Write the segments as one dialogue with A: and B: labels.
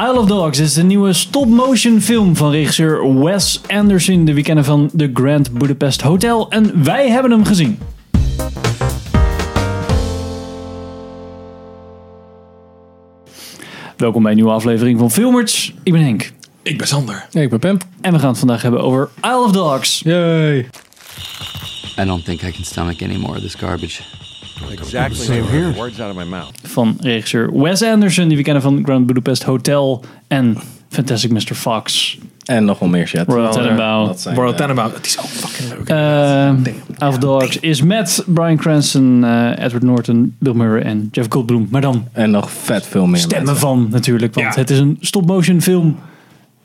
A: Isle of Dogs is de nieuwe stop-motion film van regisseur Wes Anderson. De weekenden van The Grand Budapest Hotel. En wij hebben hem gezien. Welkom bij een nieuwe aflevering van Filmers. Ik ben Henk.
B: Ik ben Sander.
C: Ja, ik ben Pam.
A: En we gaan het vandaag hebben over Isle of Dogs.
C: Yay.
D: I don't think I can stomach any more of this garbage.
E: Exactly. Same here. Words out of my mouth.
A: Van regisseur Wes Anderson. Die we kennen van Grand Budapest Hotel. En Fantastic Mr. Fox.
C: En nog wel meer shit.
A: Royal Tenenbaum.
C: Dat zijn,
B: Royal
C: eh,
B: Tenenbaum. Het is ook fucking leuk.
A: Eh Isle of Dogs is met Brian Cranston, eh, Edward Norton, Bill Murray en Jeff Goldblum. Maar dan
C: En nog vet veel meer
A: stemmen
C: mensen.
A: van natuurlijk, want
B: Ja.
A: het is een stop-motion film.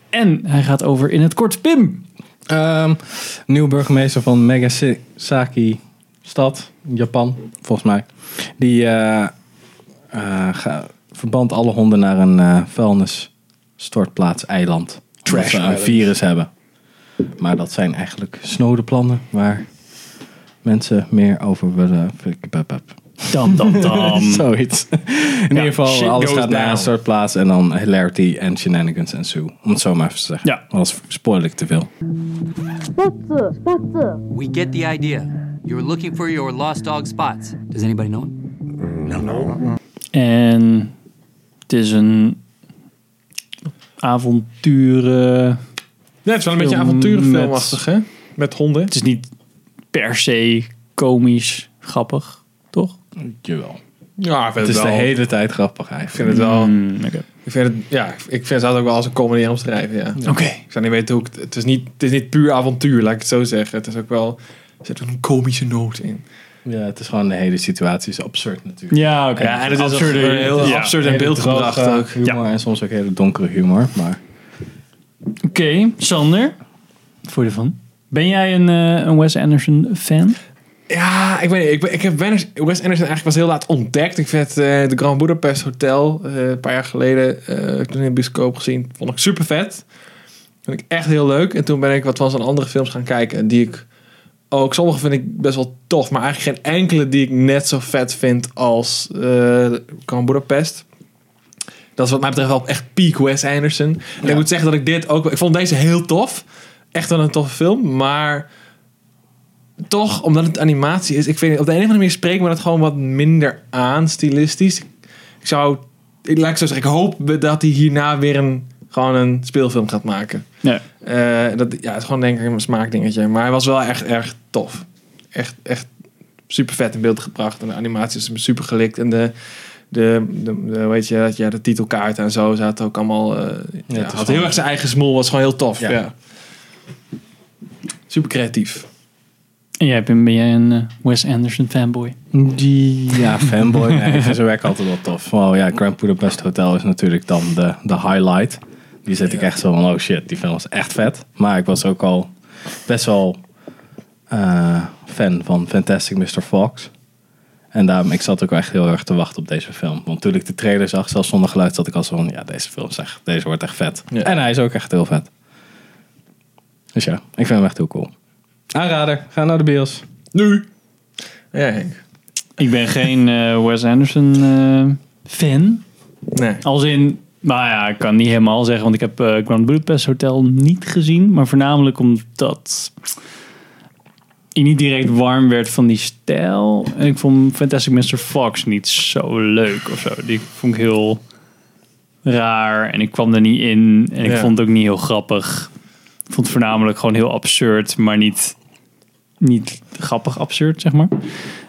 A: En hij gaat over in het kort Pim.
C: Ehm, nieuwe burgemeester van Megasaki stad, Japan, volgens mij. Die eh, eh, ga- verbandt alle honden naar een eh vuilnisstortplaats eiland.
B: Trash
C: ze een
B: island.
C: virus hebben. Maar dat zijn eigenlijk snode plannen waar mensen meer over willen.
A: Dam, dam, dam.
C: Zoiets. In ieder
B: shit
C: geval, alles
B: goes
C: gaat naar
B: down.
C: een soort plaats en dan hilarity en shenanigans en zo. Om het zo maar even te zeggen.
A: Ja.
C: Want Anders spoil ik te veel.
F: 子，八字。
D: We get the idea. You were looking for your lost dog spots. Does anybody know him?
A: en het is een avonturen.
B: Ja, het is wel een beetje
A: Film
B: avonturenfilmachtig, hè? Met honden.
A: Het is niet per se komisch grappig, toch?
C: Jawel.
B: Ja, ik
C: Het
B: vind het,
C: is de
B: wel.
C: hele tijd grappig
B: Ik vind
C: eigenlijk.
B: het wel.
A: Mm, Oké.
B: Ik vind het, ja, ik vind het ook wel als een comedy omschrijven, ja.
A: Oké.
B: Ik zou niet weten hoe ik... Het is niet, het is niet puur avontuur, laat ik het zo zeggen. Het is ook wel... Er zit een komische noot in.
C: Ja, het is gewoon de hele situatie is absurd natuurlijk.
A: Ja, oké.
B: Ja, en het is
A: Absurde-
B: een heel
A: ja.
B: absurd in
C: Hele
B: beeld
C: droge
B: gebracht ook.
C: humor en soms ook hele donkere humor. Maar
A: Oké, Sander. Wat vond je ervan? Ben jij een, eh, een Wes Anderson fan?
B: Ja, ik weet niet. Ik, ben- ik heb Wes Anderson Wes Anderson eigenlijk pas heel laat ontdekt. Ik vind het eh, de Grand Budapest Hotel eh, een paar jaar geleden eh, toen in de bioscoop gezien. Vond ik super vet. Vond ik echt heel leuk. En toen ben ik wat van zijn andere films gaan kijken. Die ik ook, sommige vind ik best wel tof. Maar eigenlijk geen enkele die ik net zo vet vind als eh Grand Budapest. Dat is wat mij betreft wel echt peak Wes Anderson. En ik moet zeggen dat ik dit ook... Ik vond deze heel tof. Echt wel een toffe film. Maar toch, omdat het manier is, ik vind het op de een of andere manier spreekt me dat gewoon wat minder aan, stilistisch. Ik zou, ik, laat ik zo zeggen, ik hoop dat hij hierna weer een, gewoon een speelfilm gaat maken.
A: Nee.
B: Eh, dat, ja, het is gewoon denk ik een smaakdingetje. Maar hij was wel echt erg tof. Echt, echt super vet in beeld gebracht. En de animatie is super gelikt. En de, de, de, de- hoe heet je, dat? ja, de titelkaarten en zo zaten ook allemaal... eh, ja,
C: is
B: had
C: gewoon-
B: heel erg zijn eigen smoel. Was gewoon heel tof. Ja.
C: Ja.
B: Super creatief.
A: En jij Pim, ben jij een eh, Wes Anderson fanboy?
C: die... Ja, fanboy. Nee, ik vind zijn werk altijd wel tof. Wel ja, Grand Budapest Hotel is natuurlijk dan de, de highlight. Die zit ik echt zo van, oh shit, die film is echt vet. Maar ik was ook al best wel eh, fan van Fantastic Mr. Fox. En daarom, ik zat ook echt heel erg te wachten op deze film. Want toen ik de trailer zag, zelfs zonder geluid, zat ik al zo van, ja, deze film is echt, deze wordt echt vet.
B: Ja.
C: En hij is ook echt heel vet. Dus ja, ik vind hem echt heel cool. Aanrader, ga naar de bios.
B: Nu! Ja, Henk.
A: Ik ben geen eh, Wes Anderson eh, fan.
B: Nee.
A: Als in, nou ja, ik kan niet helemaal zeggen, want ik heb eh, Grand Budapest Hotel niet gezien. Maar voornamelijk omdat ik niet direct warm werd van die stijl. En ik vond Fantastic Mr. Fox niet zo leuk of zo. Die vond ik heel raar en ik kwam er niet in. En ik
B: Ja.
A: vond het ook niet heel grappig. Ik vond het voornamelijk gewoon heel absurd, maar niet, niet grappig absurd, zeg maar.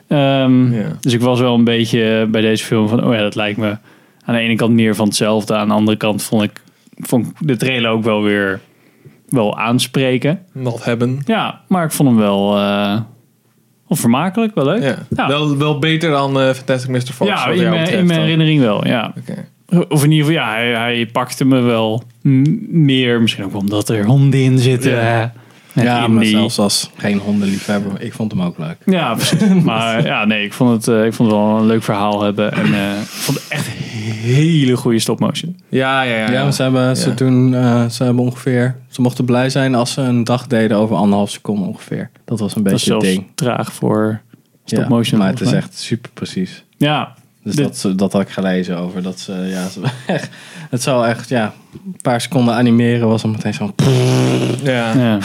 A: Ehm,
B: Ja.
A: Dus ik was wel een beetje bij deze film van, oh ja, dat lijkt me aan de ene kant meer van hetzelfde. Aan de andere kant vond ik, vond ik de trailer ook wel weer wel aanspreken.
B: Not hebben.
A: Ja, maar ik vond hem wel, eh, wel vermakelijk, wel leuk.
B: Ja.
A: Ja.
B: Wel, wel beter dan eh, Fantastic Mr. Fox.
A: ja,
B: wat
A: in
B: jou
A: mijn,
B: betreft
A: in mijn
B: dan.
A: herinnering wel, ja.
B: Oké.
A: Of in ieder geval, ja, hij, hij pakte me wel m- meer. Misschien ook omdat er honden in zitten.
B: Ja.
A: En
C: Ja,
A: in
C: maar
A: die-
C: zelfs als geen hondenliefhebber, ik vond hem ook leuk.
A: Ja, precies. maar ja, nee, ik vond, het, eh, ik vond het wel een leuk verhaal hebben. En eh, ik vond het echt hele goede stopmotion.
B: Ja, ja, ja.
C: Ja,
B: ja.
C: maar ze hebben, ze,
B: Ja.
C: doen, eh, ze hebben ongeveer... Ze mochten blij zijn als ze een dag deden over anderhalf seconde ongeveer. Dat was een
A: Dat is
C: beetje het
A: zelfs
C: ding.
A: traag voor
C: Ja,
A: stopmotion.
C: maar het is
A: volgens mij.
C: echt super precies.
A: Ja,
C: Dus
A: Dit-
C: dat, ze- dat had ik gelezen over. Dat ze, ja, ze- echt, het zou echt, ja, een paar seconden animeren was dan meteen zo'n... pff,
B: Ja.
A: Ja,
C: Dat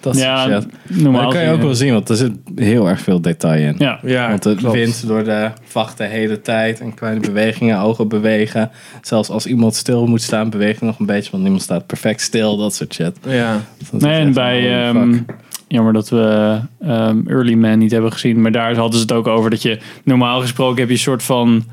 C: soort
A: ja
C: shit. Maar
A: normaal.
C: dat Nou, kan je
A: gezien, eh,
C: ook wel zien, want er zit heel erg veel detail in.
A: Ja.
B: Ja,
C: Want het
B: klopt.
C: wind door de vacht de hele tijd en kleine bewegingen, ogen bewegen. Zelfs als iemand stil moet staan, beweegt hij nog een beetje, want niemand staat perfect stil, dat soort shit.
B: Ja.
C: Dat
A: Nee,
C: is
A: en
C: echt
A: bij.
C: een holy
A: ehm,
C: fuck.
A: jammer dat we ehm, Early Man niet hebben gezien. Maar daar hadden ze het ook over dat je. Normaal gesproken heb je een soort van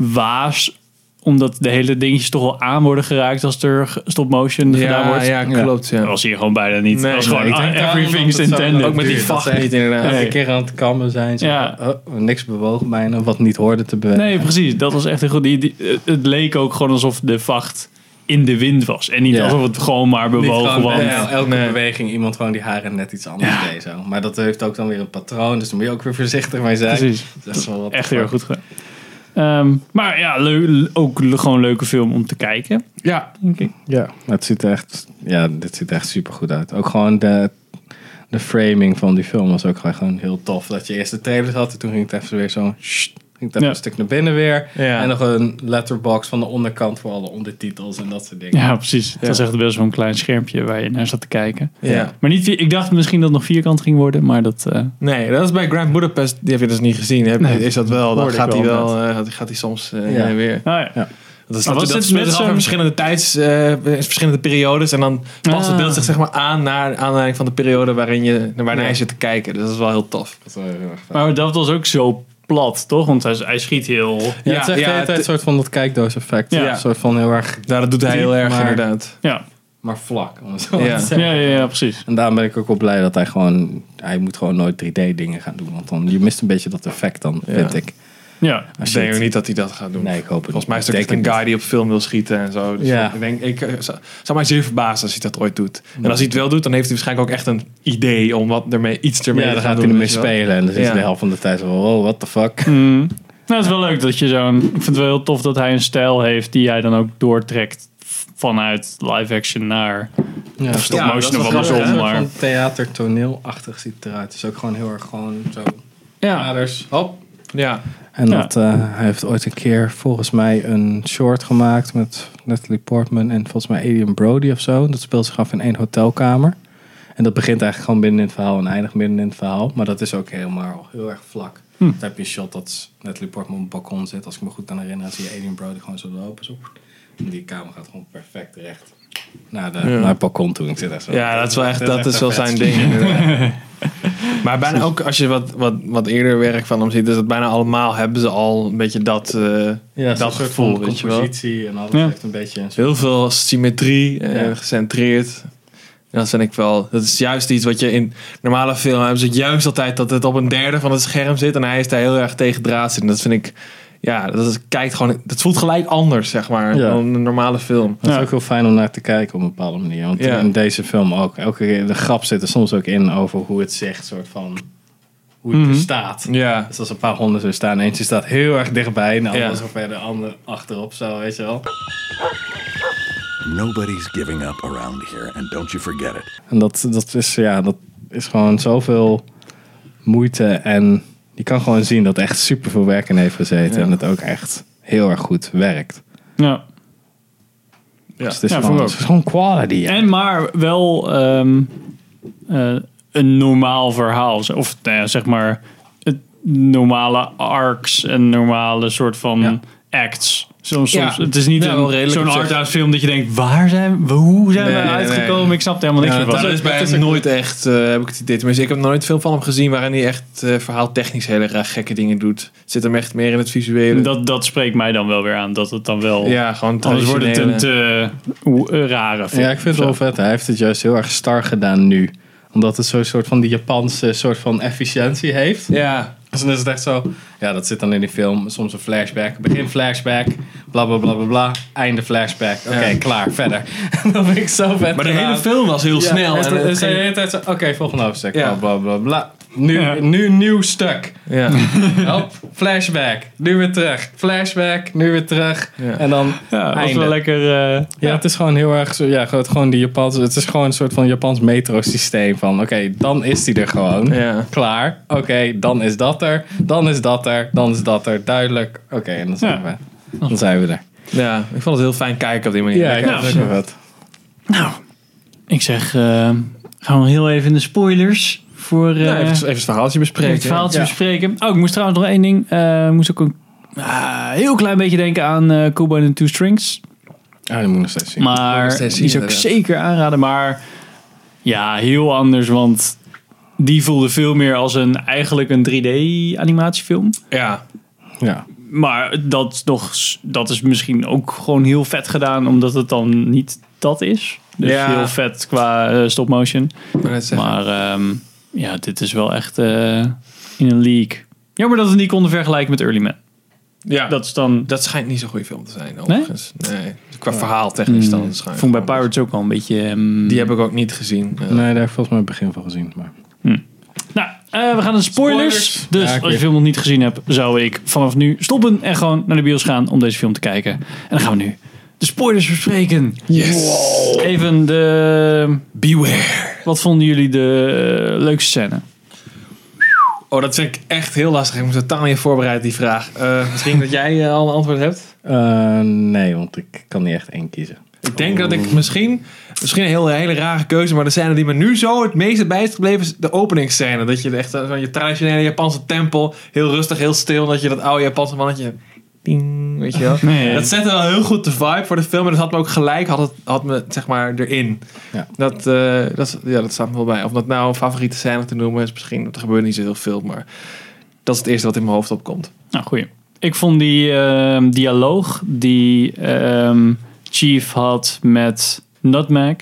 A: waas. Omdat de hele dingetjes toch wel aan worden geraakt als er stop motion gedaan
B: Ja,
A: wordt.
B: ja,
C: Ja.
B: klopt.
A: Dat
B: Ja.
A: was hier gewoon bijna niet.
B: Nee,
A: dat was
B: nee,
A: gewoon
C: ik denk
A: ah,
C: daarom
A: everything's
C: dat het zo
A: intended.
C: lang
B: Ook met die
C: duurt. Dat
B: vacht.
C: ze niet inderdaad
A: Nee.
C: een keer aan het kammen zijn. zo,
A: Ja.
C: oh, niks bewogen bijna, wat niet hoorde te bewegen.
A: Nee, precies. Dat was echt een goed. Die, die- het leek ook gewoon alsof de vacht in de wind was. En niet
C: Ja.
A: alsof het gewoon maar
C: Niet
A: bewogen
C: gewoon
A: was.
C: bij el- elke
B: Nee.
C: beweging iemand gewoon die haren net iets anders
A: Ja.
C: deed. Zo. Maar dat heeft ook dan weer een patroon, dus daar moet je ook weer voorzichtig mee zijn.
A: Precies.
C: Dat is wel wat
A: Echt heel erg goed gedaan. Ehm, maar ja, leu- ook le- gewoon een leuke film om te kijken.
B: Ja.
C: Ja, het ziet er echt, ja, dit ziet er echt super goed uit. Ook gewoon de, de framing van die film was ook gewoon heel tof. Dat je eerst de trailers had en toen ging het even weer zo... sst, Ging het even
A: Ja.
C: een stuk naar binnen weer.
B: Ja.
C: En nog een letterbox van de onderkant voor alle ondertitels en dat soort dingen.
A: Ja, precies. Het was echt best wel een klein schermpje waar je naar zat te kijken.
B: Ja.
A: Maar niet, vier- ik dacht misschien dat het nog vierkant ging worden, maar dat... eh,
B: Nee, dat is bij Grand Budapest. Die heb je dus niet gezien. Heb,
A: Nee.
B: Is dat wel? Dan
A: Hoorde ik
B: gaat hij
A: wel,
B: wel. eh, gaat hij soms eh,
C: Ja.
B: heen en weer.
A: nou ja.
B: Dat is,
A: Maar was
B: dat,
A: dit
B: dat is met
A: met
B: dus altijd
A: zo'n-
B: verschillende tijds, eh, verschillende periodes. En dan past het
A: Ah.
B: beeld zich zeg maar aan naar aanleiding van de periode waarin je naar waarnaar
A: Ja.
B: je zit te kijken. Dus dat is wel heel tof.
C: Dat is wel heel erg fijn.
A: Maar dat was ook zo plat, toch? Want hij, hij schiet heel...
C: Ja,
B: Ja,
C: het is echt
B: ja,
C: de hele tijd
B: het-
C: een soort van dat kijkdoos effect.
A: Ja.
C: Ja. Een soort van heel erg,
B: Nou, dat doet hij
C: Diep,
B: heel erg
C: maar-
B: inderdaad.
A: Ja,
C: maar vlak. om het zo
B: Ja.
C: te
A: ja,
C: zeggen.
A: ja, ja precies.
C: En daarom ben ik ook wel blij dat hij gewoon... Hij moet gewoon nooit 3D dingen gaan doen. Want dan, je mist een beetje dat effect dan, vind ik.
A: Ja,
C: Als je
B: Ik denk
C: het-
B: ook niet dat hij dat gaat doen.
C: Nee, ik hoop het
B: Volgens mij is
C: niet.
B: het ook
C: Ik
B: echt een
C: denk het
B: guy die op film wil schieten en zo. Dus
C: Ja.
B: ik denk, ik eh, zou, zou mij zeer verbazen als hij dat ooit doet. En als hij het wel doet, dan heeft hij waarschijnlijk ook echt een idee om wat ermee, iets ermee
C: Ja,
B: te
C: dan
B: gaan
C: gaat hij
B: doen.
C: ermee
B: weet je wel.
C: spelen. En dan is
B: Ja.
C: de helft van de tijd zo... Oh, what the fuck.
A: Nou, het is wel leuk dat je zo'n... Ik vind het wel heel tof dat hij een stijl heeft die hij dan ook doortrekt vanuit live action naar...
C: Ja,
A: Of stop
B: Ja, dat is
A: motion of
B: wel
A: andersom,
B: grappig,
C: Een
A: maar...
C: soort van theatertoneelachtig ziet het eruit. Het is ook gewoon heel erg gewoon zo.
A: Ja,
C: Kaders, hop.
B: Ja.
C: En
A: Ja.
C: dat, eh, hij heeft ooit een keer volgens mij een short gemaakt met Natalie Portman en volgens mij Adrian Brody of zo. Dat speelt zich af in één hotelkamer. En dat begint eigenlijk gewoon binnen in het verhaal en eindigt binnen in het verhaal. Maar dat is ook helemaal heel erg vlak.
B: Hm.
C: Dan heb je een shot dat Natalie Portman op het balkon zit. Als ik me goed kan herinneren, zie je Adrian Brody gewoon zo lopen. Zo. En die kamer gaat gewoon perfect recht naar, de, naar het balkon toe. Ik zit echt zo.
B: Ja, dat is wel echt, dat is wel
C: een vet
B: zijn ding. inderdaad. maar bijna ook als je wat, wat, wat eerder werk van hem ziet, is dat bijna allemaal hebben ze al een beetje dat, eh,
C: Ja,
B: dat
C: dat soort van
B: gevoel, weet je wel.
C: compositie en alles
A: Ja.
C: heeft een beetje een soort-
B: Heel veel symmetrie, eh,
C: Ja.
B: gecentreerd. En dat vind ik wel, dat is juist iets wat je in normale film hebben ze juist altijd dat het op een derde van het scherm zit en hij is daar heel erg tegen draad zitten. Dat vind ik, ja, dat is, kijkt gewoon, dat voelt gelijk anders, zeg maar,
C: Ja.
B: dan een normale film.
C: Dat is
A: Ja.
C: ook heel fijn om naar te kijken op een bepaalde manier. Want
B: Ja.
C: in deze film ook. Elke keer, de grap zit er soms ook in over hoe het zegt, soort van hoe
A: Mhm.
C: het er staat.
B: Ja,
C: Dus als een paar honden zo staan, eentje staat heel erg dichtbij, en de andere
B: Ja.
C: zo verder, de ander achterop, zo weet je wel.
E: Nobody's giving up around here, and don't you forget it.
C: En dat, dat, is, ja, dat is gewoon zoveel moeite. En je kan gewoon zien dat er echt super veel werk in heeft gezeten.
B: Ja.
C: En het ook echt heel erg goed werkt.
A: ja.
C: Dus het is,
A: Ja,
C: gewoon,
A: vond ik ook.
C: het is gewoon quality. Ja.
A: En maar wel ehm, eh, een normaal verhaal. Of nou ja, zeg maar het normale arcs en normale soort van
C: Ja.
A: acts. Soms,
B: Ja.
A: soms, Het is niet
B: Ja, wel
A: een,
B: redelijk
A: zo'n
B: op zich.
A: art-house film dat je denkt, waar zijn we, hoe zijn
B: Nee,
A: we
B: nee, nee.
A: uitgekomen? Ik snap er helemaal
C: Ja,
A: niks meer
B: Dat
A: van.
B: is bij hem nooit echt, eh, heb ik het idee. Tenminste, ik heb nog nooit veel van hem gezien waarin hij echt eh verhaaltechnisch hele raar gekke dingen doet. Zit hem echt meer in het visuele.
A: Dat, dat spreekt mij dan wel weer aan, dat het dan wel...
B: ja, gewoon
A: Anders wordt het een
B: traditionele-
A: te oe- eh, rare film.
C: Ja, ik vind
A: Zo.
C: het wel vet. Hij heeft het juist heel erg star gedaan nu. Omdat het zo'n soort van die Japanse soort van efficiëntie heeft.
B: Ja,
C: Dus dan is het echt zo. Ja, dat zit dan in die film. Soms een flashback. Begin flashback. Bla bla bla bla bla. Einde flashback. Oké,
B: Ja.
C: klaar. Verder. dat vind ik zo vet.
B: maar de
C: gedaan.
B: hele film was heel
C: Ja,
B: snel.
C: het-
B: en
C: het
B: het
C: is de
B: ging-
C: hele tijd zo. Oké, volgende hoofdstuk.
B: Ja.
C: Bla bla bla bla. Nu,
A: Ja.
C: nu nieuw stuk.
B: Ja.
C: Hop, flashback. Nu weer terug. Flashback. Nu weer terug.
B: Ja.
C: En dan
A: Ja, dat was
C: einde.
A: wel lekker. eh,
C: Ja, het is gewoon heel erg zo. Ja, gewoon gewoon die Japanse. Het is gewoon een soort van Japans metrosysteem. Van oké, dan is die er gewoon.
B: Ja.
C: Klaar. Oké, dan is dat er. Dan is dat er. Dan is dat er. Duidelijk. Oké, en dan zijn,
A: Ja.
C: we, dan zijn we er.
B: ja, ik vond het heel fijn kijken op die manier.
C: Ja, ik
B: Lekker.
C: heb het ook wel wat.
A: Nou, ik zeg, eh, gaan we heel even in de spoilers voor eh,
B: Ja, even, even het verhaaltje bespreken.
A: het verhaal te
C: ja.
A: bespreken. Oh, ik moest trouwens nog één ding. eh, ik moest ook een ah, heel klein beetje denken aan eh Kubo en de Two Strings.
C: Ah, dat moet ik nog steeds zien.
A: Maar
B: steeds
A: die zou
B: zien,
A: ik
B: inderdaad.
A: zeker aanraden. Maar ja, heel anders, want die voelde veel meer als een eigenlijk een 3D animatiefilm.
B: Ja.
C: ja.
A: Maar dat, is nog, dat is misschien ook gewoon heel vet gedaan, omdat het dan niet dat is. Dus
B: Ja.
A: heel vet qua eh, stop motion.
B: ik wou net zeggen.
A: Maar ehm, ja, dit is wel echt eh, in een league. Jammer dat we het niet konden vergelijken met Early Man.
B: ja.
A: Dat is dan.
B: Dat schijnt niet zo'n goede film te zijn, overigens. Nee. Qua verhaal technisch
A: Mm,
B: dan. schijnt-
A: vond ik bij Pirates ook wel een beetje. ehm,
B: Die heb ik ook niet gezien. Eh, Ja.
C: Nee, daar heb ik volgens mij het begin van gezien. Maar.
A: Nou, eh, we gaan naar de spoilers.
C: Spoilers.
A: Dus
C: Ja, oké.
A: als je de film nog niet gezien hebt, zou ik vanaf nu stoppen en gewoon naar de bios gaan om deze film te kijken. En dan gaan we nu de spoilers bespreken. Even de.
B: Beware.
A: Wat vonden jullie de eh, leukste scène?
B: Oh, dat vind ik echt heel lastig. Ik moet totaal niet voorbereid die vraag. Eh, misschien dat jij eh, al een antwoord hebt?
C: Eh, nee, want ik kan niet echt één kiezen.
B: Ik denk dat ik misschien, misschien een heel, hele rare keuze, maar de scène die me nu zo het meeste bij is gebleven is de openingsscène. Dat je echt eh, van je traditionele Japanse tempel, heel rustig, heel stil, en dat je dat oude Japanse mannetje, ding, weet je wel.
A: Nee.
B: Dat zette wel heel goed de vibe voor de film en dat had me ook gelijk, had, het, had me zeg maar erin.
C: Ja.
B: Dat, eh, dat, is- ja, dat staat me wel bij. Of dat nou een favoriete scène te noemen is, misschien, er gebeurt niet zo heel veel, maar dat is het eerste wat in mijn hoofd opkomt.
A: Nou, goeie. Ik vond die ehm, dialoog die ehm, Chief had met Nutmeg.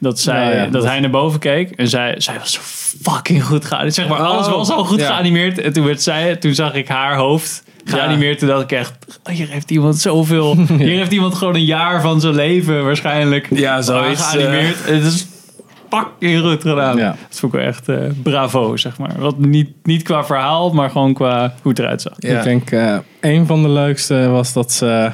A: Dat, zij,
C: Ja, ja.
A: dat hij naar boven keek en zij, zij was zo fucking goed geanimeerd. Zeg maar, alles
B: Oh,
A: was al goed
B: ja.
A: geanimeerd. En toen werd zij, toen zag ik haar hoofd geanimeerd. Toen dacht ik echt, oh, hier heeft iemand zoveel. Hier heeft iemand gewoon een jaar van zijn leven waarschijnlijk
B: Ja,
A: aan
B: zoiets,
A: geanimeerd. Het is fucking goed gedaan.
C: Ja.
A: Dat vond ik wel echt eh, bravo, zeg maar. Wat niet, niet qua verhaal, maar gewoon qua hoe het eruit zag.
B: Ja.
C: Ik denk, eh een van de leukste was dat ze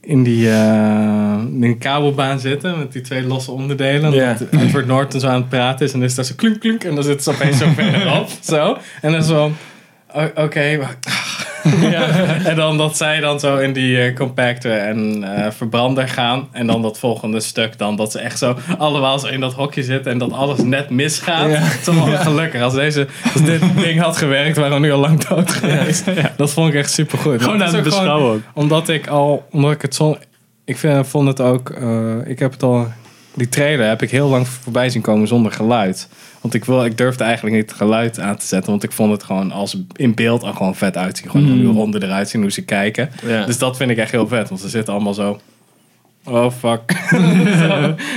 C: in die, eh, in die kabelbaan zitten met die twee losse onderdelen.
B: Ja.
C: Dat Edward Norton zo aan het praten is en dan is daar zo klunk klunk en dan zit ze opeens zo verderop. Zo. En dan zo, o- oké, maar- En dan dat zij dan zo in die eh, compactor en eh, verbrander gaan. En dan dat volgende stuk dan dat ze echt zo allemaal zo in dat hokje zitten en dat alles net misgaat.
B: Ja.
C: Het is allemaal gelukkig. Als, deze, als dit ding had gewerkt, waren we nu al lang dood geweest. Dat vond ik echt supergoed.
A: Gewoon
C: Dat
A: aan
C: is
A: het
C: ook gewoon-
A: beschouwen.
C: Omdat ik al, omdat ik het zo, ik vind, vond het ook, eh, ik heb het al, die trailer heb ik heel lang voorbij zien komen zonder geluid. Want ik, wil, ik durfde eigenlijk niet het geluid aan te zetten. Want ik vond het gewoon als in beeld al gewoon vet uitzien. Gewoon hoe de honden eruit zien, hoe ze kijken.
B: Hmm. Ja.
C: Dus dat vind ik echt heel vet. Want ze zitten allemaal zo. Oh fuck.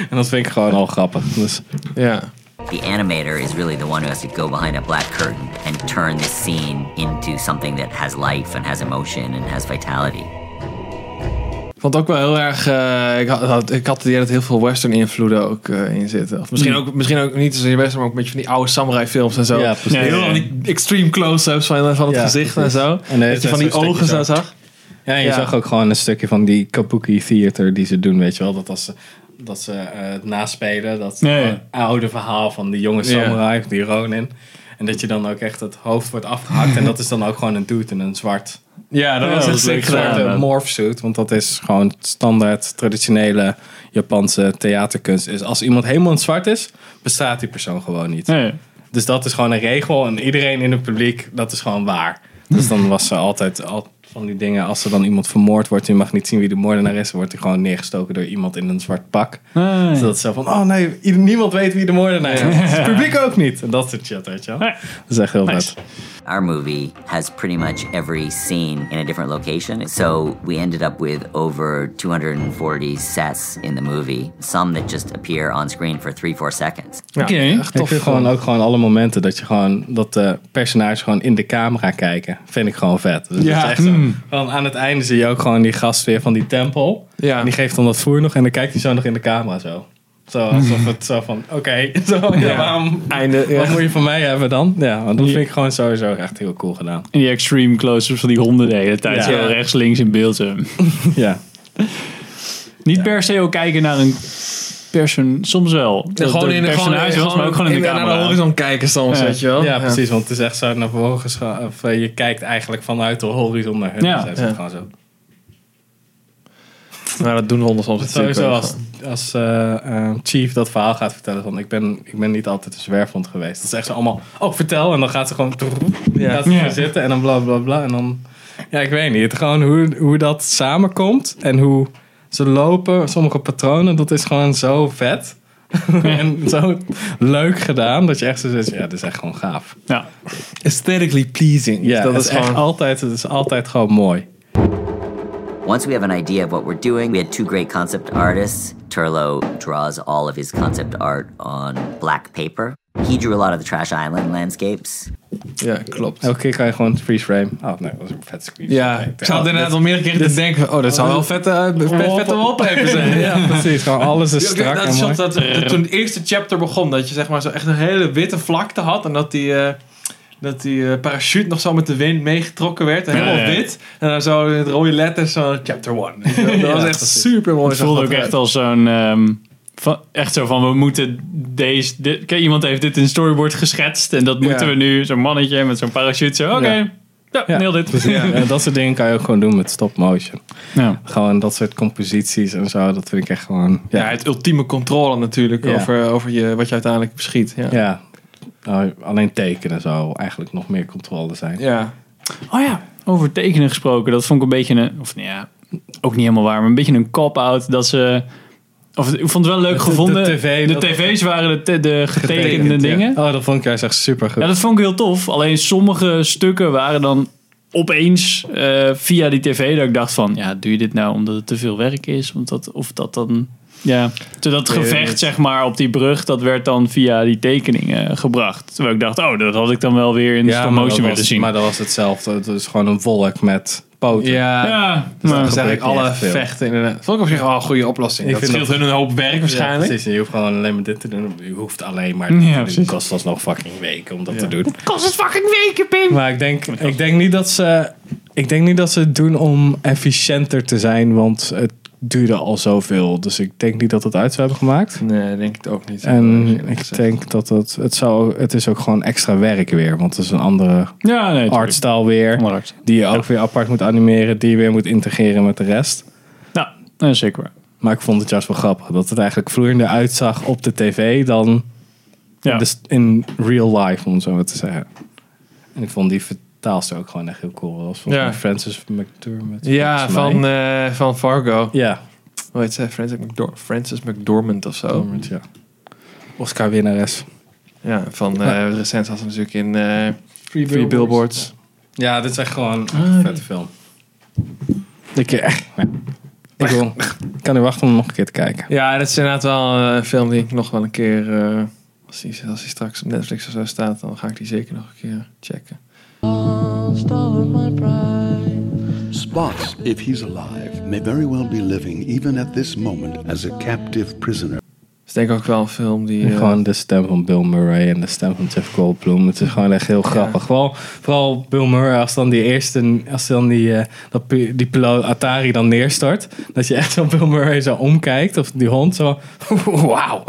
C: en dat vind ik gewoon al grappig. Dus
B: Ja.
G: The animator is really the one who has to go behind a black curtain and turn this scene into something that has life and has emotion and has vitality.
B: Ik vond het ook wel heel erg. eh, ik, had- had, ik had het idee dat heel veel western invloeden ook eh, in zitten. Of misschien, ook, misschien ook niet zozeer western, maar ook een beetje van die oude samurai films en zo.
C: Ja, precies.
B: Heel
A: Ja, ja, ja.
B: die extreme close-ups van, van het
C: Ja,
B: gezicht
C: precies.
B: en zo.
C: En de hele
B: dat je
C: tijd
B: van die
C: zo'n
B: ogen zo
C: stukje zo.
B: zag.
C: Ja, je
B: Ja.
C: zag ook gewoon een stukje van die kabuki theater die ze doen, weet je wel. Dat als ze, dat ze eh, het naspelen, dat
A: Ja, ja.
C: eh, oude verhaal van die jonge
B: Ja.
C: samurai, of die Ronin. En dat je dan ook echt het hoofd wordt afgehakt. en dat is dan ook gewoon een dude in een zwart,
B: Ja, dat
A: Ja,
B: was
A: dat
B: echt
A: was leuk
B: sick
A: gedaan.
B: gedaan.
C: zwarte morph suit. Want dat is gewoon standaard traditionele Japanse theaterkunst. Is als iemand helemaal in het zwart is, bestaat die persoon gewoon niet.
A: Nee.
C: Dus dat is gewoon een regel. En iedereen in het publiek, dat is gewoon waar. Dus dan was ze altijd al van die dingen. Als er dan iemand vermoord wordt, je mag niet zien wie de moordenaar is. Dan wordt hij gewoon neergestoken door iemand in een zwart pak.
A: Nee.
C: Zodat ze van, oh nee, ieder- niemand weet wie de moordenaar is. Het publiek ook niet. En dat soort shit, weet je wel.
A: Nee.
C: Dat is echt heel vet.
A: Nice.
G: Our movie has pretty much every scene in a different location, so we ended up with over 240 sets in the movie, some that just appear on screen for three, four seconds.
B: Ja,
A: Oké.
B: echt
C: Ik
B: tof.
C: vind gewoon ook gewoon alle momenten dat je gewoon dat de personages gewoon in de camera kijken, vind ik gewoon vet. Dus
B: Ja.
C: dat is echt zo. Want aan het einde zie je ook gewoon die gast weer van die tempel.
B: Ja.
C: En die geeft dan dat voer nog en dan kijkt hij zo nog in de camera zo. Zo, alsof het zo van, oké, zo, ja, waarom,
B: Einde.
C: wat
B: Ja.
C: moet je van mij hebben dan? Ja, want dat vind ik gewoon sowieso echt heel cool gedaan.
A: En die extreme close-ups van die honden de hele tijd.
C: Ja.
A: Zo rechts, links in beeld. zo.
C: Ja,
A: Niet per se ook kijken naar een persoon. Soms wel. Dat het een personage was, maar ook gewoon in de
B: Naar de
A: camera.
B: horizon kijken soms,
A: Ja.
B: weet je wel.
C: ja precies, want het is echt zo naar voren geschoven. Of eh, je kijkt eigenlijk vanuit de horizon naar hun.
A: Ja.
C: Dus hij zit
B: Ja.
C: gewoon zo.
B: Nou, dat doen honden soms natuurlijk
C: Sowieso
B: wel.
C: als, als eh, eh, Chief dat verhaal gaat vertellen van ik ben, ik ben niet altijd een zwerfhond geweest. Dan zegt ze allemaal, oh vertel. En dan gaat ze gewoon
B: Ja.
C: gaat ze
A: Ja.
C: zitten en dan bla bla bla. En dan, ja ik weet niet. Het Gewoon hoe, hoe dat samenkomt en hoe ze lopen. Sommige patronen, dat is gewoon zo vet. en zo leuk gedaan dat je echt zo zegt, ja dat is echt gewoon gaaf.
A: Ja.
B: Aesthetically pleasing.
C: Ja,
B: Dus dat
C: het
B: is gewoon...
C: echt altijd, het is altijd gewoon mooi.
G: Once we have an idea of what we're doing, we had two great concept artists. Turlo draws all of his concept art on black paper. He drew a lot of the Trash Island landscapes.
B: Ja, klopt.
C: Elke keer kan je gewoon freeze frame. Oh nee, dat is een vet screen.
B: Ja, ik zat inderdaad al meerdere keren te denken, oh, dat zou wel vette, eh, vet, vette wallpaper zijn.
C: Ja, precies. Gewoon alles is strak
B: dat
C: en mooi.
B: shot dat, dat toen het eerste chapter begon, dat je zeg maar zo echt een hele witte vlakte had en dat die, eh, dat die eh, parachute nog zo met de wind meegetrokken werd, en helemaal
A: Ja, ja.
B: wit. En dan zo in het rode letters zo chapter 1. Dat was echt super mooi.
A: Het voelde ook echt als zo'n... ehm, van, echt zo van, we moeten deze... Dit, kijk, iemand heeft dit in storyboard geschetst. En dat moeten we nu, zo'n mannetje met zo'n parachute. Zo, oké,
C: Ja.
A: ja.
B: eh,
A: nail dit.
C: Ja, en dat soort dingen kan je ook gewoon doen met stop motion.
A: Ja.
C: Gewoon dat soort composities en zo, dat vind ik echt gewoon.
B: Ja, het ultieme controle natuurlijk
C: Ja.
B: over, over je, wat je uiteindelijk beschiet. Ja.
C: ja. Nou, alleen tekenen zou eigenlijk nog meer controle zijn.
B: Ja.
A: Oh ja, over tekenen gesproken. Dat vond ik een beetje een... Of nou ja, ook niet helemaal waar. Maar een beetje een cop-out dat ze... Of, ik vond het wel leuk
C: de
A: gevonden.
C: TV
A: de
C: dat-
A: tv's waren de, te- de getekende
C: Getekend, ja.
A: dingen.
C: Oh, dat vond ik juist echt super goed.
A: Ja, dat vond ik heel tof. Alleen sommige stukken waren dan opeens eh, via die tv dat ik dacht van... Ja, doe je dit nou omdat het te veel werk is? Omdat, dat- of dat dan... Ja, Toen dat gevecht zeg maar op die brug, dat werd dan via die tekeningen gebracht. Terwijl ik dacht, oh, dat had ik dan wel weer in de stop
C: maar, dat
A: motion willen
C: was,
A: zien.
C: maar dat was hetzelfde. Het is gewoon een wolk met poten.
B: ja.
A: ja,
B: Dat
A: maar-
B: is eigenlijk
C: gebeurt niet
B: alle
C: echt veel.
B: vechten inderdaad. Vond ik op zich wel een goede oplossing.
C: Ik
B: dat
C: vind
B: scheelt hun een hoop werk
C: Ja,
B: waarschijnlijk.
C: precies. En Je hoeft gewoon alleen maar dit te doen. Je hoeft alleen maar dit te
A: Ja,
C: doen.
A: precies.
C: kost ons nog fucking weken om dat te doen.
A: kost het fucking weken, Pim.
C: Maar ik denk, ik denk niet dat ze. Ik denk niet dat ze het doen om efficiënter te zijn, want het duurde al zoveel. Dus ik denk niet dat het uit zou hebben gemaakt.
B: Nee, denk ik ook niet.
C: En
B: Eerlijk
C: ik
B: gezegd.
C: denk dat het. Het, zou, het is ook gewoon extra werk weer. Want het is een andere
A: Ja, nee. tuurlijk.
C: artstyle weer.
A: Andere art.
C: Die je ook weer apart moet animeren. Die je weer moet integreren met de rest.
A: Nou, dat is zeker waar.
C: Maar ik vond het juist wel grappig. Dat het eigenlijk vloeiender uitzag op de tv dan
A: Ja.
C: dus in real life, om het zo maar te zeggen. En ik vond die vertaalster ook gewoon echt heel cool. Dat was volgens
B: Ja.
C: mij Francis McDermott.
B: Ja,
C: volgens mij.
B: van, eh, van Fargo.
C: Ja,
B: Hoe heet zij? Francis, McDor- Francis McDormand of zo.
C: Dormant, ja. Oscar-winnares.
B: Ja, van eh
C: Ja.
B: recent had ze natuurlijk in eh, Free, Billboards.
C: Ja, dit is echt gewoon een
B: Ah,
C: vette film. Ik, eh, ik, wil, ik kan niet wachten om hem nog een keer te kijken.
B: Ja, dat is inderdaad wel eh, een film die ik nog wel een keer... eh, als, die, als die straks op Netflix of zo staat, dan ga ik die zeker nog een keer checken.
E: Spots, if he's alive, may very well be living, even at this moment, as a captive prisoner.
B: Dus denk ik ook wel een film die... eh,
C: Gewoon de stem van Bill Murray en de stem van Jeff Goldblum. Het is gewoon echt heel grappig. Vooral, vooral Bill Murray als dan die eerste, als dan die, eh, dat, pi- die piloot Atari dan neerstort. Dat je echt zo Bill Murray zo omkijkt. Of die hond zo, wauw.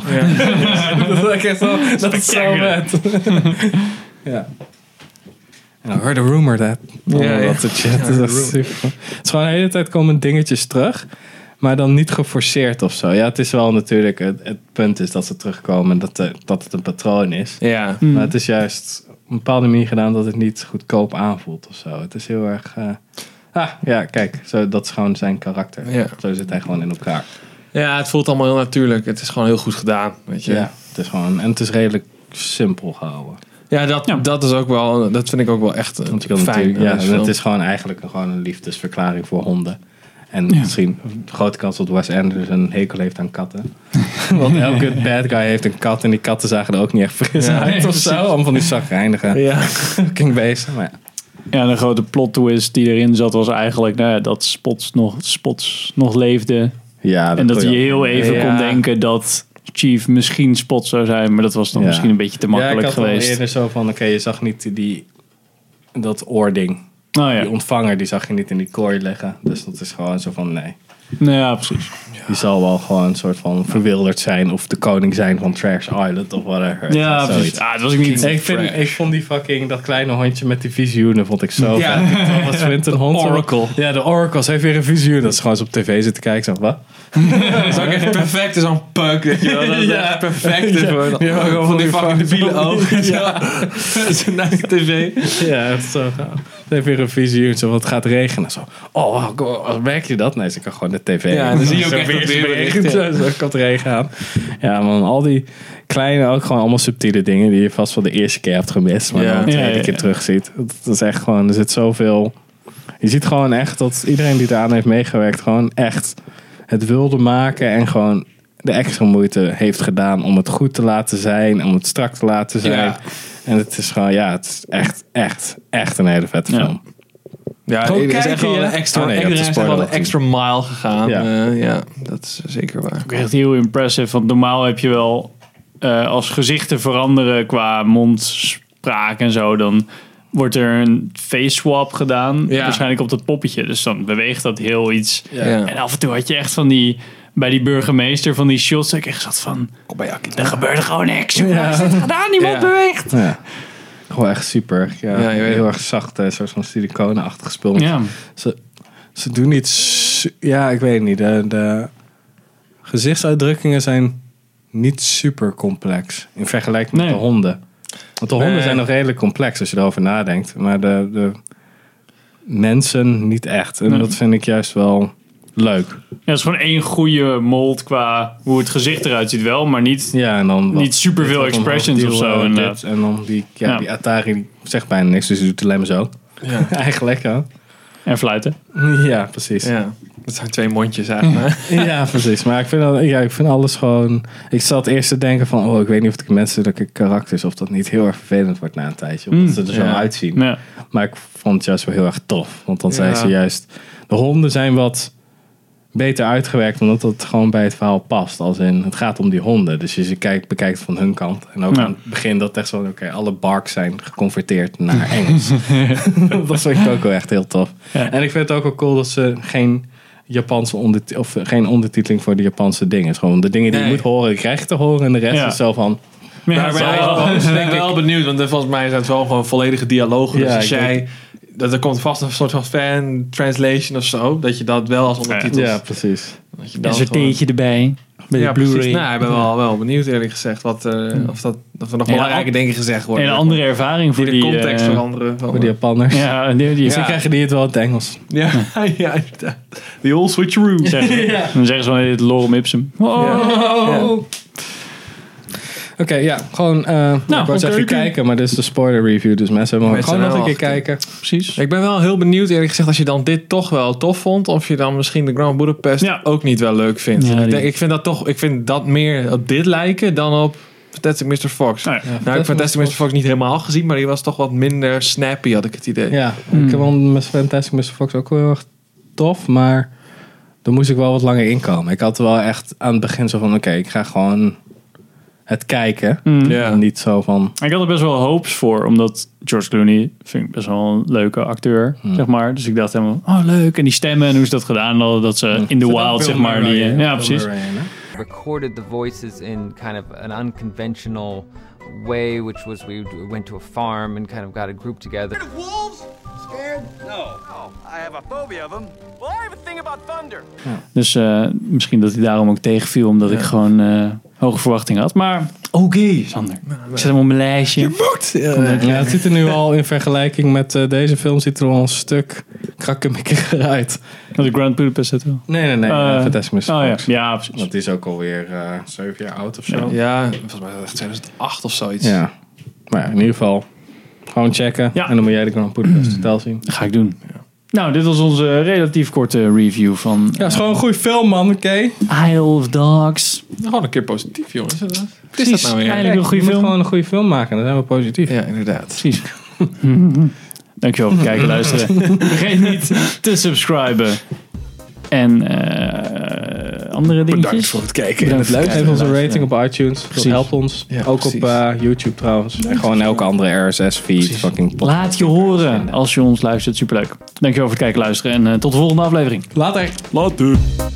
C: dat is echt zo, dat is zo
A: Spectaculair.
C: vet. ja. I heard a rumor that.
B: Ja, ja.
C: Dat soort shit. Dat is echt super. Het is gewoon de hele tijd komen dingetjes terug. Maar dan niet geforceerd of zo. Ja, het is wel natuurlijk. Het, het punt is dat ze terugkomen. Dat, eh, dat het een patroon is.
B: Ja,
C: Maar het is juist op een bepaalde manier gedaan dat het niet goedkoop aanvoelt of zo. Het is heel erg. eh, ah, ja, kijk. Zo, dat is gewoon zijn karakter.
B: Ja.
C: Zo zit hij gewoon in elkaar.
B: ja, het voelt allemaal heel natuurlijk. Het is gewoon heel goed gedaan, weet je.
C: Ja. Het is gewoon. En het is redelijk simpel gehouden.
B: Ja, dat, dat is ook wel, dat vind ik ook wel echt eh,
C: Want je kan
B: fijn.
C: natuurlijk,
B: aan
C: ja,
B: deze
C: en het
B: film.
C: is gewoon eigenlijk een- gewoon een liefdesverklaring voor honden. En misschien een grote kans dat Wes Anderson een hekel heeft aan katten. Want elke bad guy heeft een kat en die katten zagen er ook niet echt fris
B: Ja,
C: uit
B: nee,
C: of zo. Allemaal van die zagrijnige
B: ja.
C: fucking beesten. Maar ja.
A: Ja, de grote plot twist die erin zat was eigenlijk nou ja, dat Spots nog, Spots nog leefde.
C: ja,
A: en dat
C: kon
A: je
C: ook-
A: heel even
B: Ja.
A: kon denken dat Chief misschien spot zou zijn. Maar dat was dan
C: Ja.
A: misschien een beetje te makkelijk
C: ja, ik had wel
A: geweest.
C: eerder zo van, oké, je zag niet die, dat oording.
A: Nou ja.
C: Die ontvanger, die zag je niet in die kooi liggen. Dus dat is gewoon zo van, nee.
A: Nou ja, precies.
C: Die zal wel gewoon een soort van verwilderd zijn. Of de koning zijn van Trash Island of whatever.
A: Ja,
C: Zoiets.
A: precies. Ah, dat was ik niet.
C: Ik, vind,
B: Trash.
C: ik vond die fucking, dat kleine hondje met die visioenen, vond ik zo
B: Ja.
C: vet. Dat was Swinton Hond.
A: Oracle.
C: Ja, de Oracle. Ze heeft weer een visioen. Dat is gewoon eens op tv zitten kijken. Zo, wat?
B: Dat is ook echt perfect, zo'n punk. Weet je wel. Dat is
C: Ja.
B: echt perfect.
C: Ja.
B: Voor,
C: Ja, gewoon
B: van die
C: van die
B: fucking debiele
C: fucking-
B: ogen. Ja. Zo naast de tv.
C: Ja, het is zo gaaf. Ze heeft weer een visioen. Zo, wat gaat regenen? Zo, oh, wow, merk je dat? Nee, ze kan gewoon de tv.
B: Ja, dan zie je ook
C: Zo
B: echt dat weerbericht,
C: regent.
B: ja.
C: Zo, zo kan het regen aan. Ja, man, al die kleine, ook gewoon allemaal subtiele dingen die je vast wel de eerste keer hebt gemist. Maar
B: Ja.
C: dan de
A: Ja,
C: tweede
A: ja, ja.
C: keer terugziet. Dat is echt gewoon, er zit zoveel... Je ziet gewoon echt dat iedereen die eraan heeft meegewerkt gewoon echt het wilde maken en gewoon de extra moeite heeft gedaan om het goed te laten zijn, om het strak te laten zijn.
B: Ja.
C: En het is gewoon, ja, het is echt, echt, echt een hele vette
A: Ja.
C: film.
B: Ja,
C: Gewoon
B: er is echt
C: kijken,
B: wel
C: ja.
B: een extra,
C: Oh, nee, je
B: er
C: hebt
B: is
C: de
B: echt wel
C: spoiler
B: een
C: al
B: extra mile gegaan.
C: Ja.
B: Ja. ja, dat is zeker waar.
A: Ook echt heel impressive. Want normaal heb je wel, eh, als gezichten veranderen qua mondspraak en zo, dan wordt er een face swap gedaan.
B: Ja.
A: Waarschijnlijk op dat poppetje. Dus dan beweegt dat heel iets.
B: Ja.
A: En af en toe had je echt van die, bij die burgemeester van die shots, dat ik echt zat van,
B: Kom bij Akkie.
A: er gebeurde gewoon niks. Hoe is dit gedaan? Niemand
B: Ja.
A: beweegt.
C: Ja. Gewoon echt super. Ja,
B: Ja, je weet
C: heel
B: het.
C: erg zacht, eh, soort van siliconenachtig gespeeld.
A: Ja.
C: Ze, ze doen niet. su- Ja, ik weet niet. De, de gezichtsuitdrukkingen zijn niet super complex in vergelijking
A: Nee.
C: met de honden. Want de honden
B: Nee.
C: zijn nog redelijk complex als je erover nadenkt. Maar de, de mensen niet echt. En
A: Nee.
C: dat vind ik juist wel leuk.
A: Ja, het is gewoon één goede mold qua hoe het gezicht eruit ziet wel, maar niet...
C: Ja, en dan
A: Niet superveel
C: dit, wat
A: expressions
C: omhoog,
A: of
C: die,
A: zo,
C: eh, dit.
A: inderdaad.
C: En dan die, ja,
A: Ja.
C: die Atari die zegt bijna niks, dus die doet alleen maar zo.
B: Ja.
C: Eigenlijk, hè?
A: En fluiten.
C: Ja, precies. Ja.
B: ja, dat zijn twee mondjes eigenlijk.
C: precies. Maar ik vind, al- ja, ik vind alles gewoon... Ik zat eerst te denken van... Oh, ik weet niet of de menselijke karakters... of dat niet heel erg vervelend wordt na een tijdje. Omdat ze er zo
B: ja.
C: uitzien.
A: Mm. Ja.
C: Maar ik vond het juist wel heel erg tof. Want dan zijn
B: Ja.
C: ze juist... De honden zijn wat beter uitgewerkt... omdat dat gewoon bij het verhaal past. Als in, het gaat om die honden. Dus je ze kijkt, bekijkt van hun kant. En ook
A: Ja.
C: aan het begin dat echt zo... Oké, alle barks zijn geconverteerd naar Engels. dat vind ik ook wel echt heel tof.
A: Ja.
C: En ik vind het ook wel cool dat ze geen... Japanse onderti- of geen ondertiteling voor de Japanse dingen. Het is gewoon de dingen die je
B: Nee.
C: moet horen, krijg je te horen. En de rest
A: Ja.
C: is zo van...
A: Ja,
B: Maar
A: zo.
B: ben ik wel- ben ik wel benieuwd, want volgens mij zijn het wel gewoon volledige dialogen.
C: Ja,
B: dus als
C: ik
B: jij, dat er komt vast een soort van fan translation of zo, dat je dat wel als ondertitels.
C: Ja, precies.
B: dat je
A: Een
B: dan gewoon-
A: sorteentje erbij. Met
B: Ja,
A: de Blu-ray.
B: precies. Nou, ik ben wel, wel benieuwd eerlijk gezegd wat, eh, of, dat, of er nog
A: Ja,
B: belangrijke
A: al-
B: dingen gezegd worden.
A: En een andere ervaring voor
B: die de
A: die...
B: context
A: eh,
B: veranderen. Van,
C: Voor de Japanners.
A: Ja, die, die,
C: Dus dan krijgen die het wel in het Engels.
B: ja, ja, inderdaad. The old switcheroo.
A: zeggen ze. Dan zeggen ze van dit lorem ipsum. Oh,
C: Oké, ja, gewoon. eh nou, ik wou
A: oké,
C: zeggen
A: oké.
C: kijken, maar dit is de spoiler review, dus mensen hebben
B: Mensen
C: gewoon nog een
B: wel
C: keer kijken.
A: precies.
B: Ik ben wel heel benieuwd, eerlijk gezegd, als je dan dit toch wel tof vond, of je dan misschien de Grand Budapest
A: Ja.
B: ook niet wel leuk vindt.
A: Ja,
B: ik,
A: die-
B: denk, ik vind dat toch, ik vind dat meer op dit lijken dan op Fantastic Mr. Fox.
A: Nou, ja.
B: nou, ik heb Fantastic Mr. Fox niet helemaal gezien, maar die was toch wat minder snappy, had ik het idee.
C: Ja,
A: Hmm.
C: ik vond Miss Fantastic Mr. Fox ook wel heel erg tof, maar daar moest ik wel wat langer inkomen. Ik had wel echt aan het begin zo van: oké, ik ga gewoon het kijken.
A: Hmm.
B: Ja.
C: Niet zo van.
A: Ik had er best wel hopes voor, omdat George Clooney vind ik best wel een leuke acteur, zeg maar. Dus ik dacht helemaal, oh leuk. En die stemmen en hoe ze dat gedaan hadden, dat
B: Hmm.
A: ze in the wild, zeg maar. Die, eh, ja, precies.
H: recorded the voices in kind of an unconventional way, which was we d- went to a farm and kind of got a group together.
I: Wolves? Scared? No. No, I have a phobia of them. Well, I have a thing about thunder.
A: Dus eh, misschien dat hij daarom ook tegenviel, omdat ik gewoon eh, hoge verwachtingen had. Maar oké, Sander. Ik zet hem op mijn lijstje.
C: Ja, het ziet er nu al in vergelijking met eh, deze film, ziet er al een stuk krakkemikkiger uit.
A: De Grand Budapest Hotel.
C: Nee, nee, nee.
A: Eh,
C: eh, Fantastic Mr. Fox.
A: Oh ja, ja precies.
C: Want die is ook alweer eh zeven jaar oud of zo. Ja.
B: Ja, volgens mij was het echt 2008 of zoiets.
C: Maar ja, in ieder geval, gewoon checken.
A: Ja.
C: En dan moet jij de Grand Budapest Hotel zien.
A: Dat ga ik doen. Nou, dit was onze relatief korte review van eh,
C: Ja, is gewoon een goede film, man. Oké.
A: Isle of Dogs.
B: Gewoon een keer positief, jongens. Wat is dat nou weer?
A: Eigenlijk een goede
C: je moet
A: film.
C: gewoon een goede film maken. Dan zijn we positief.
B: Ja, inderdaad.
A: Precies. Dankjewel voor het kijken en luisteren. Vergeet niet te subscriben. En eh, andere dingetjes.
B: Bedankt voor het kijken.
A: Bedankt voor het
C: Geef ons een rating
A: luisteren.
C: op iTunes. Dat helpt ons.
B: Ja,
C: ook
B: precies.
C: op eh, YouTube trouwens. En gewoon elke andere RSS-feed. Fucking podcast.
A: Laat je horen als je ons luistert. Superleuk. Dankjewel voor het kijken, luisteren. En eh, tot de volgende aflevering.
C: Later.
A: Later.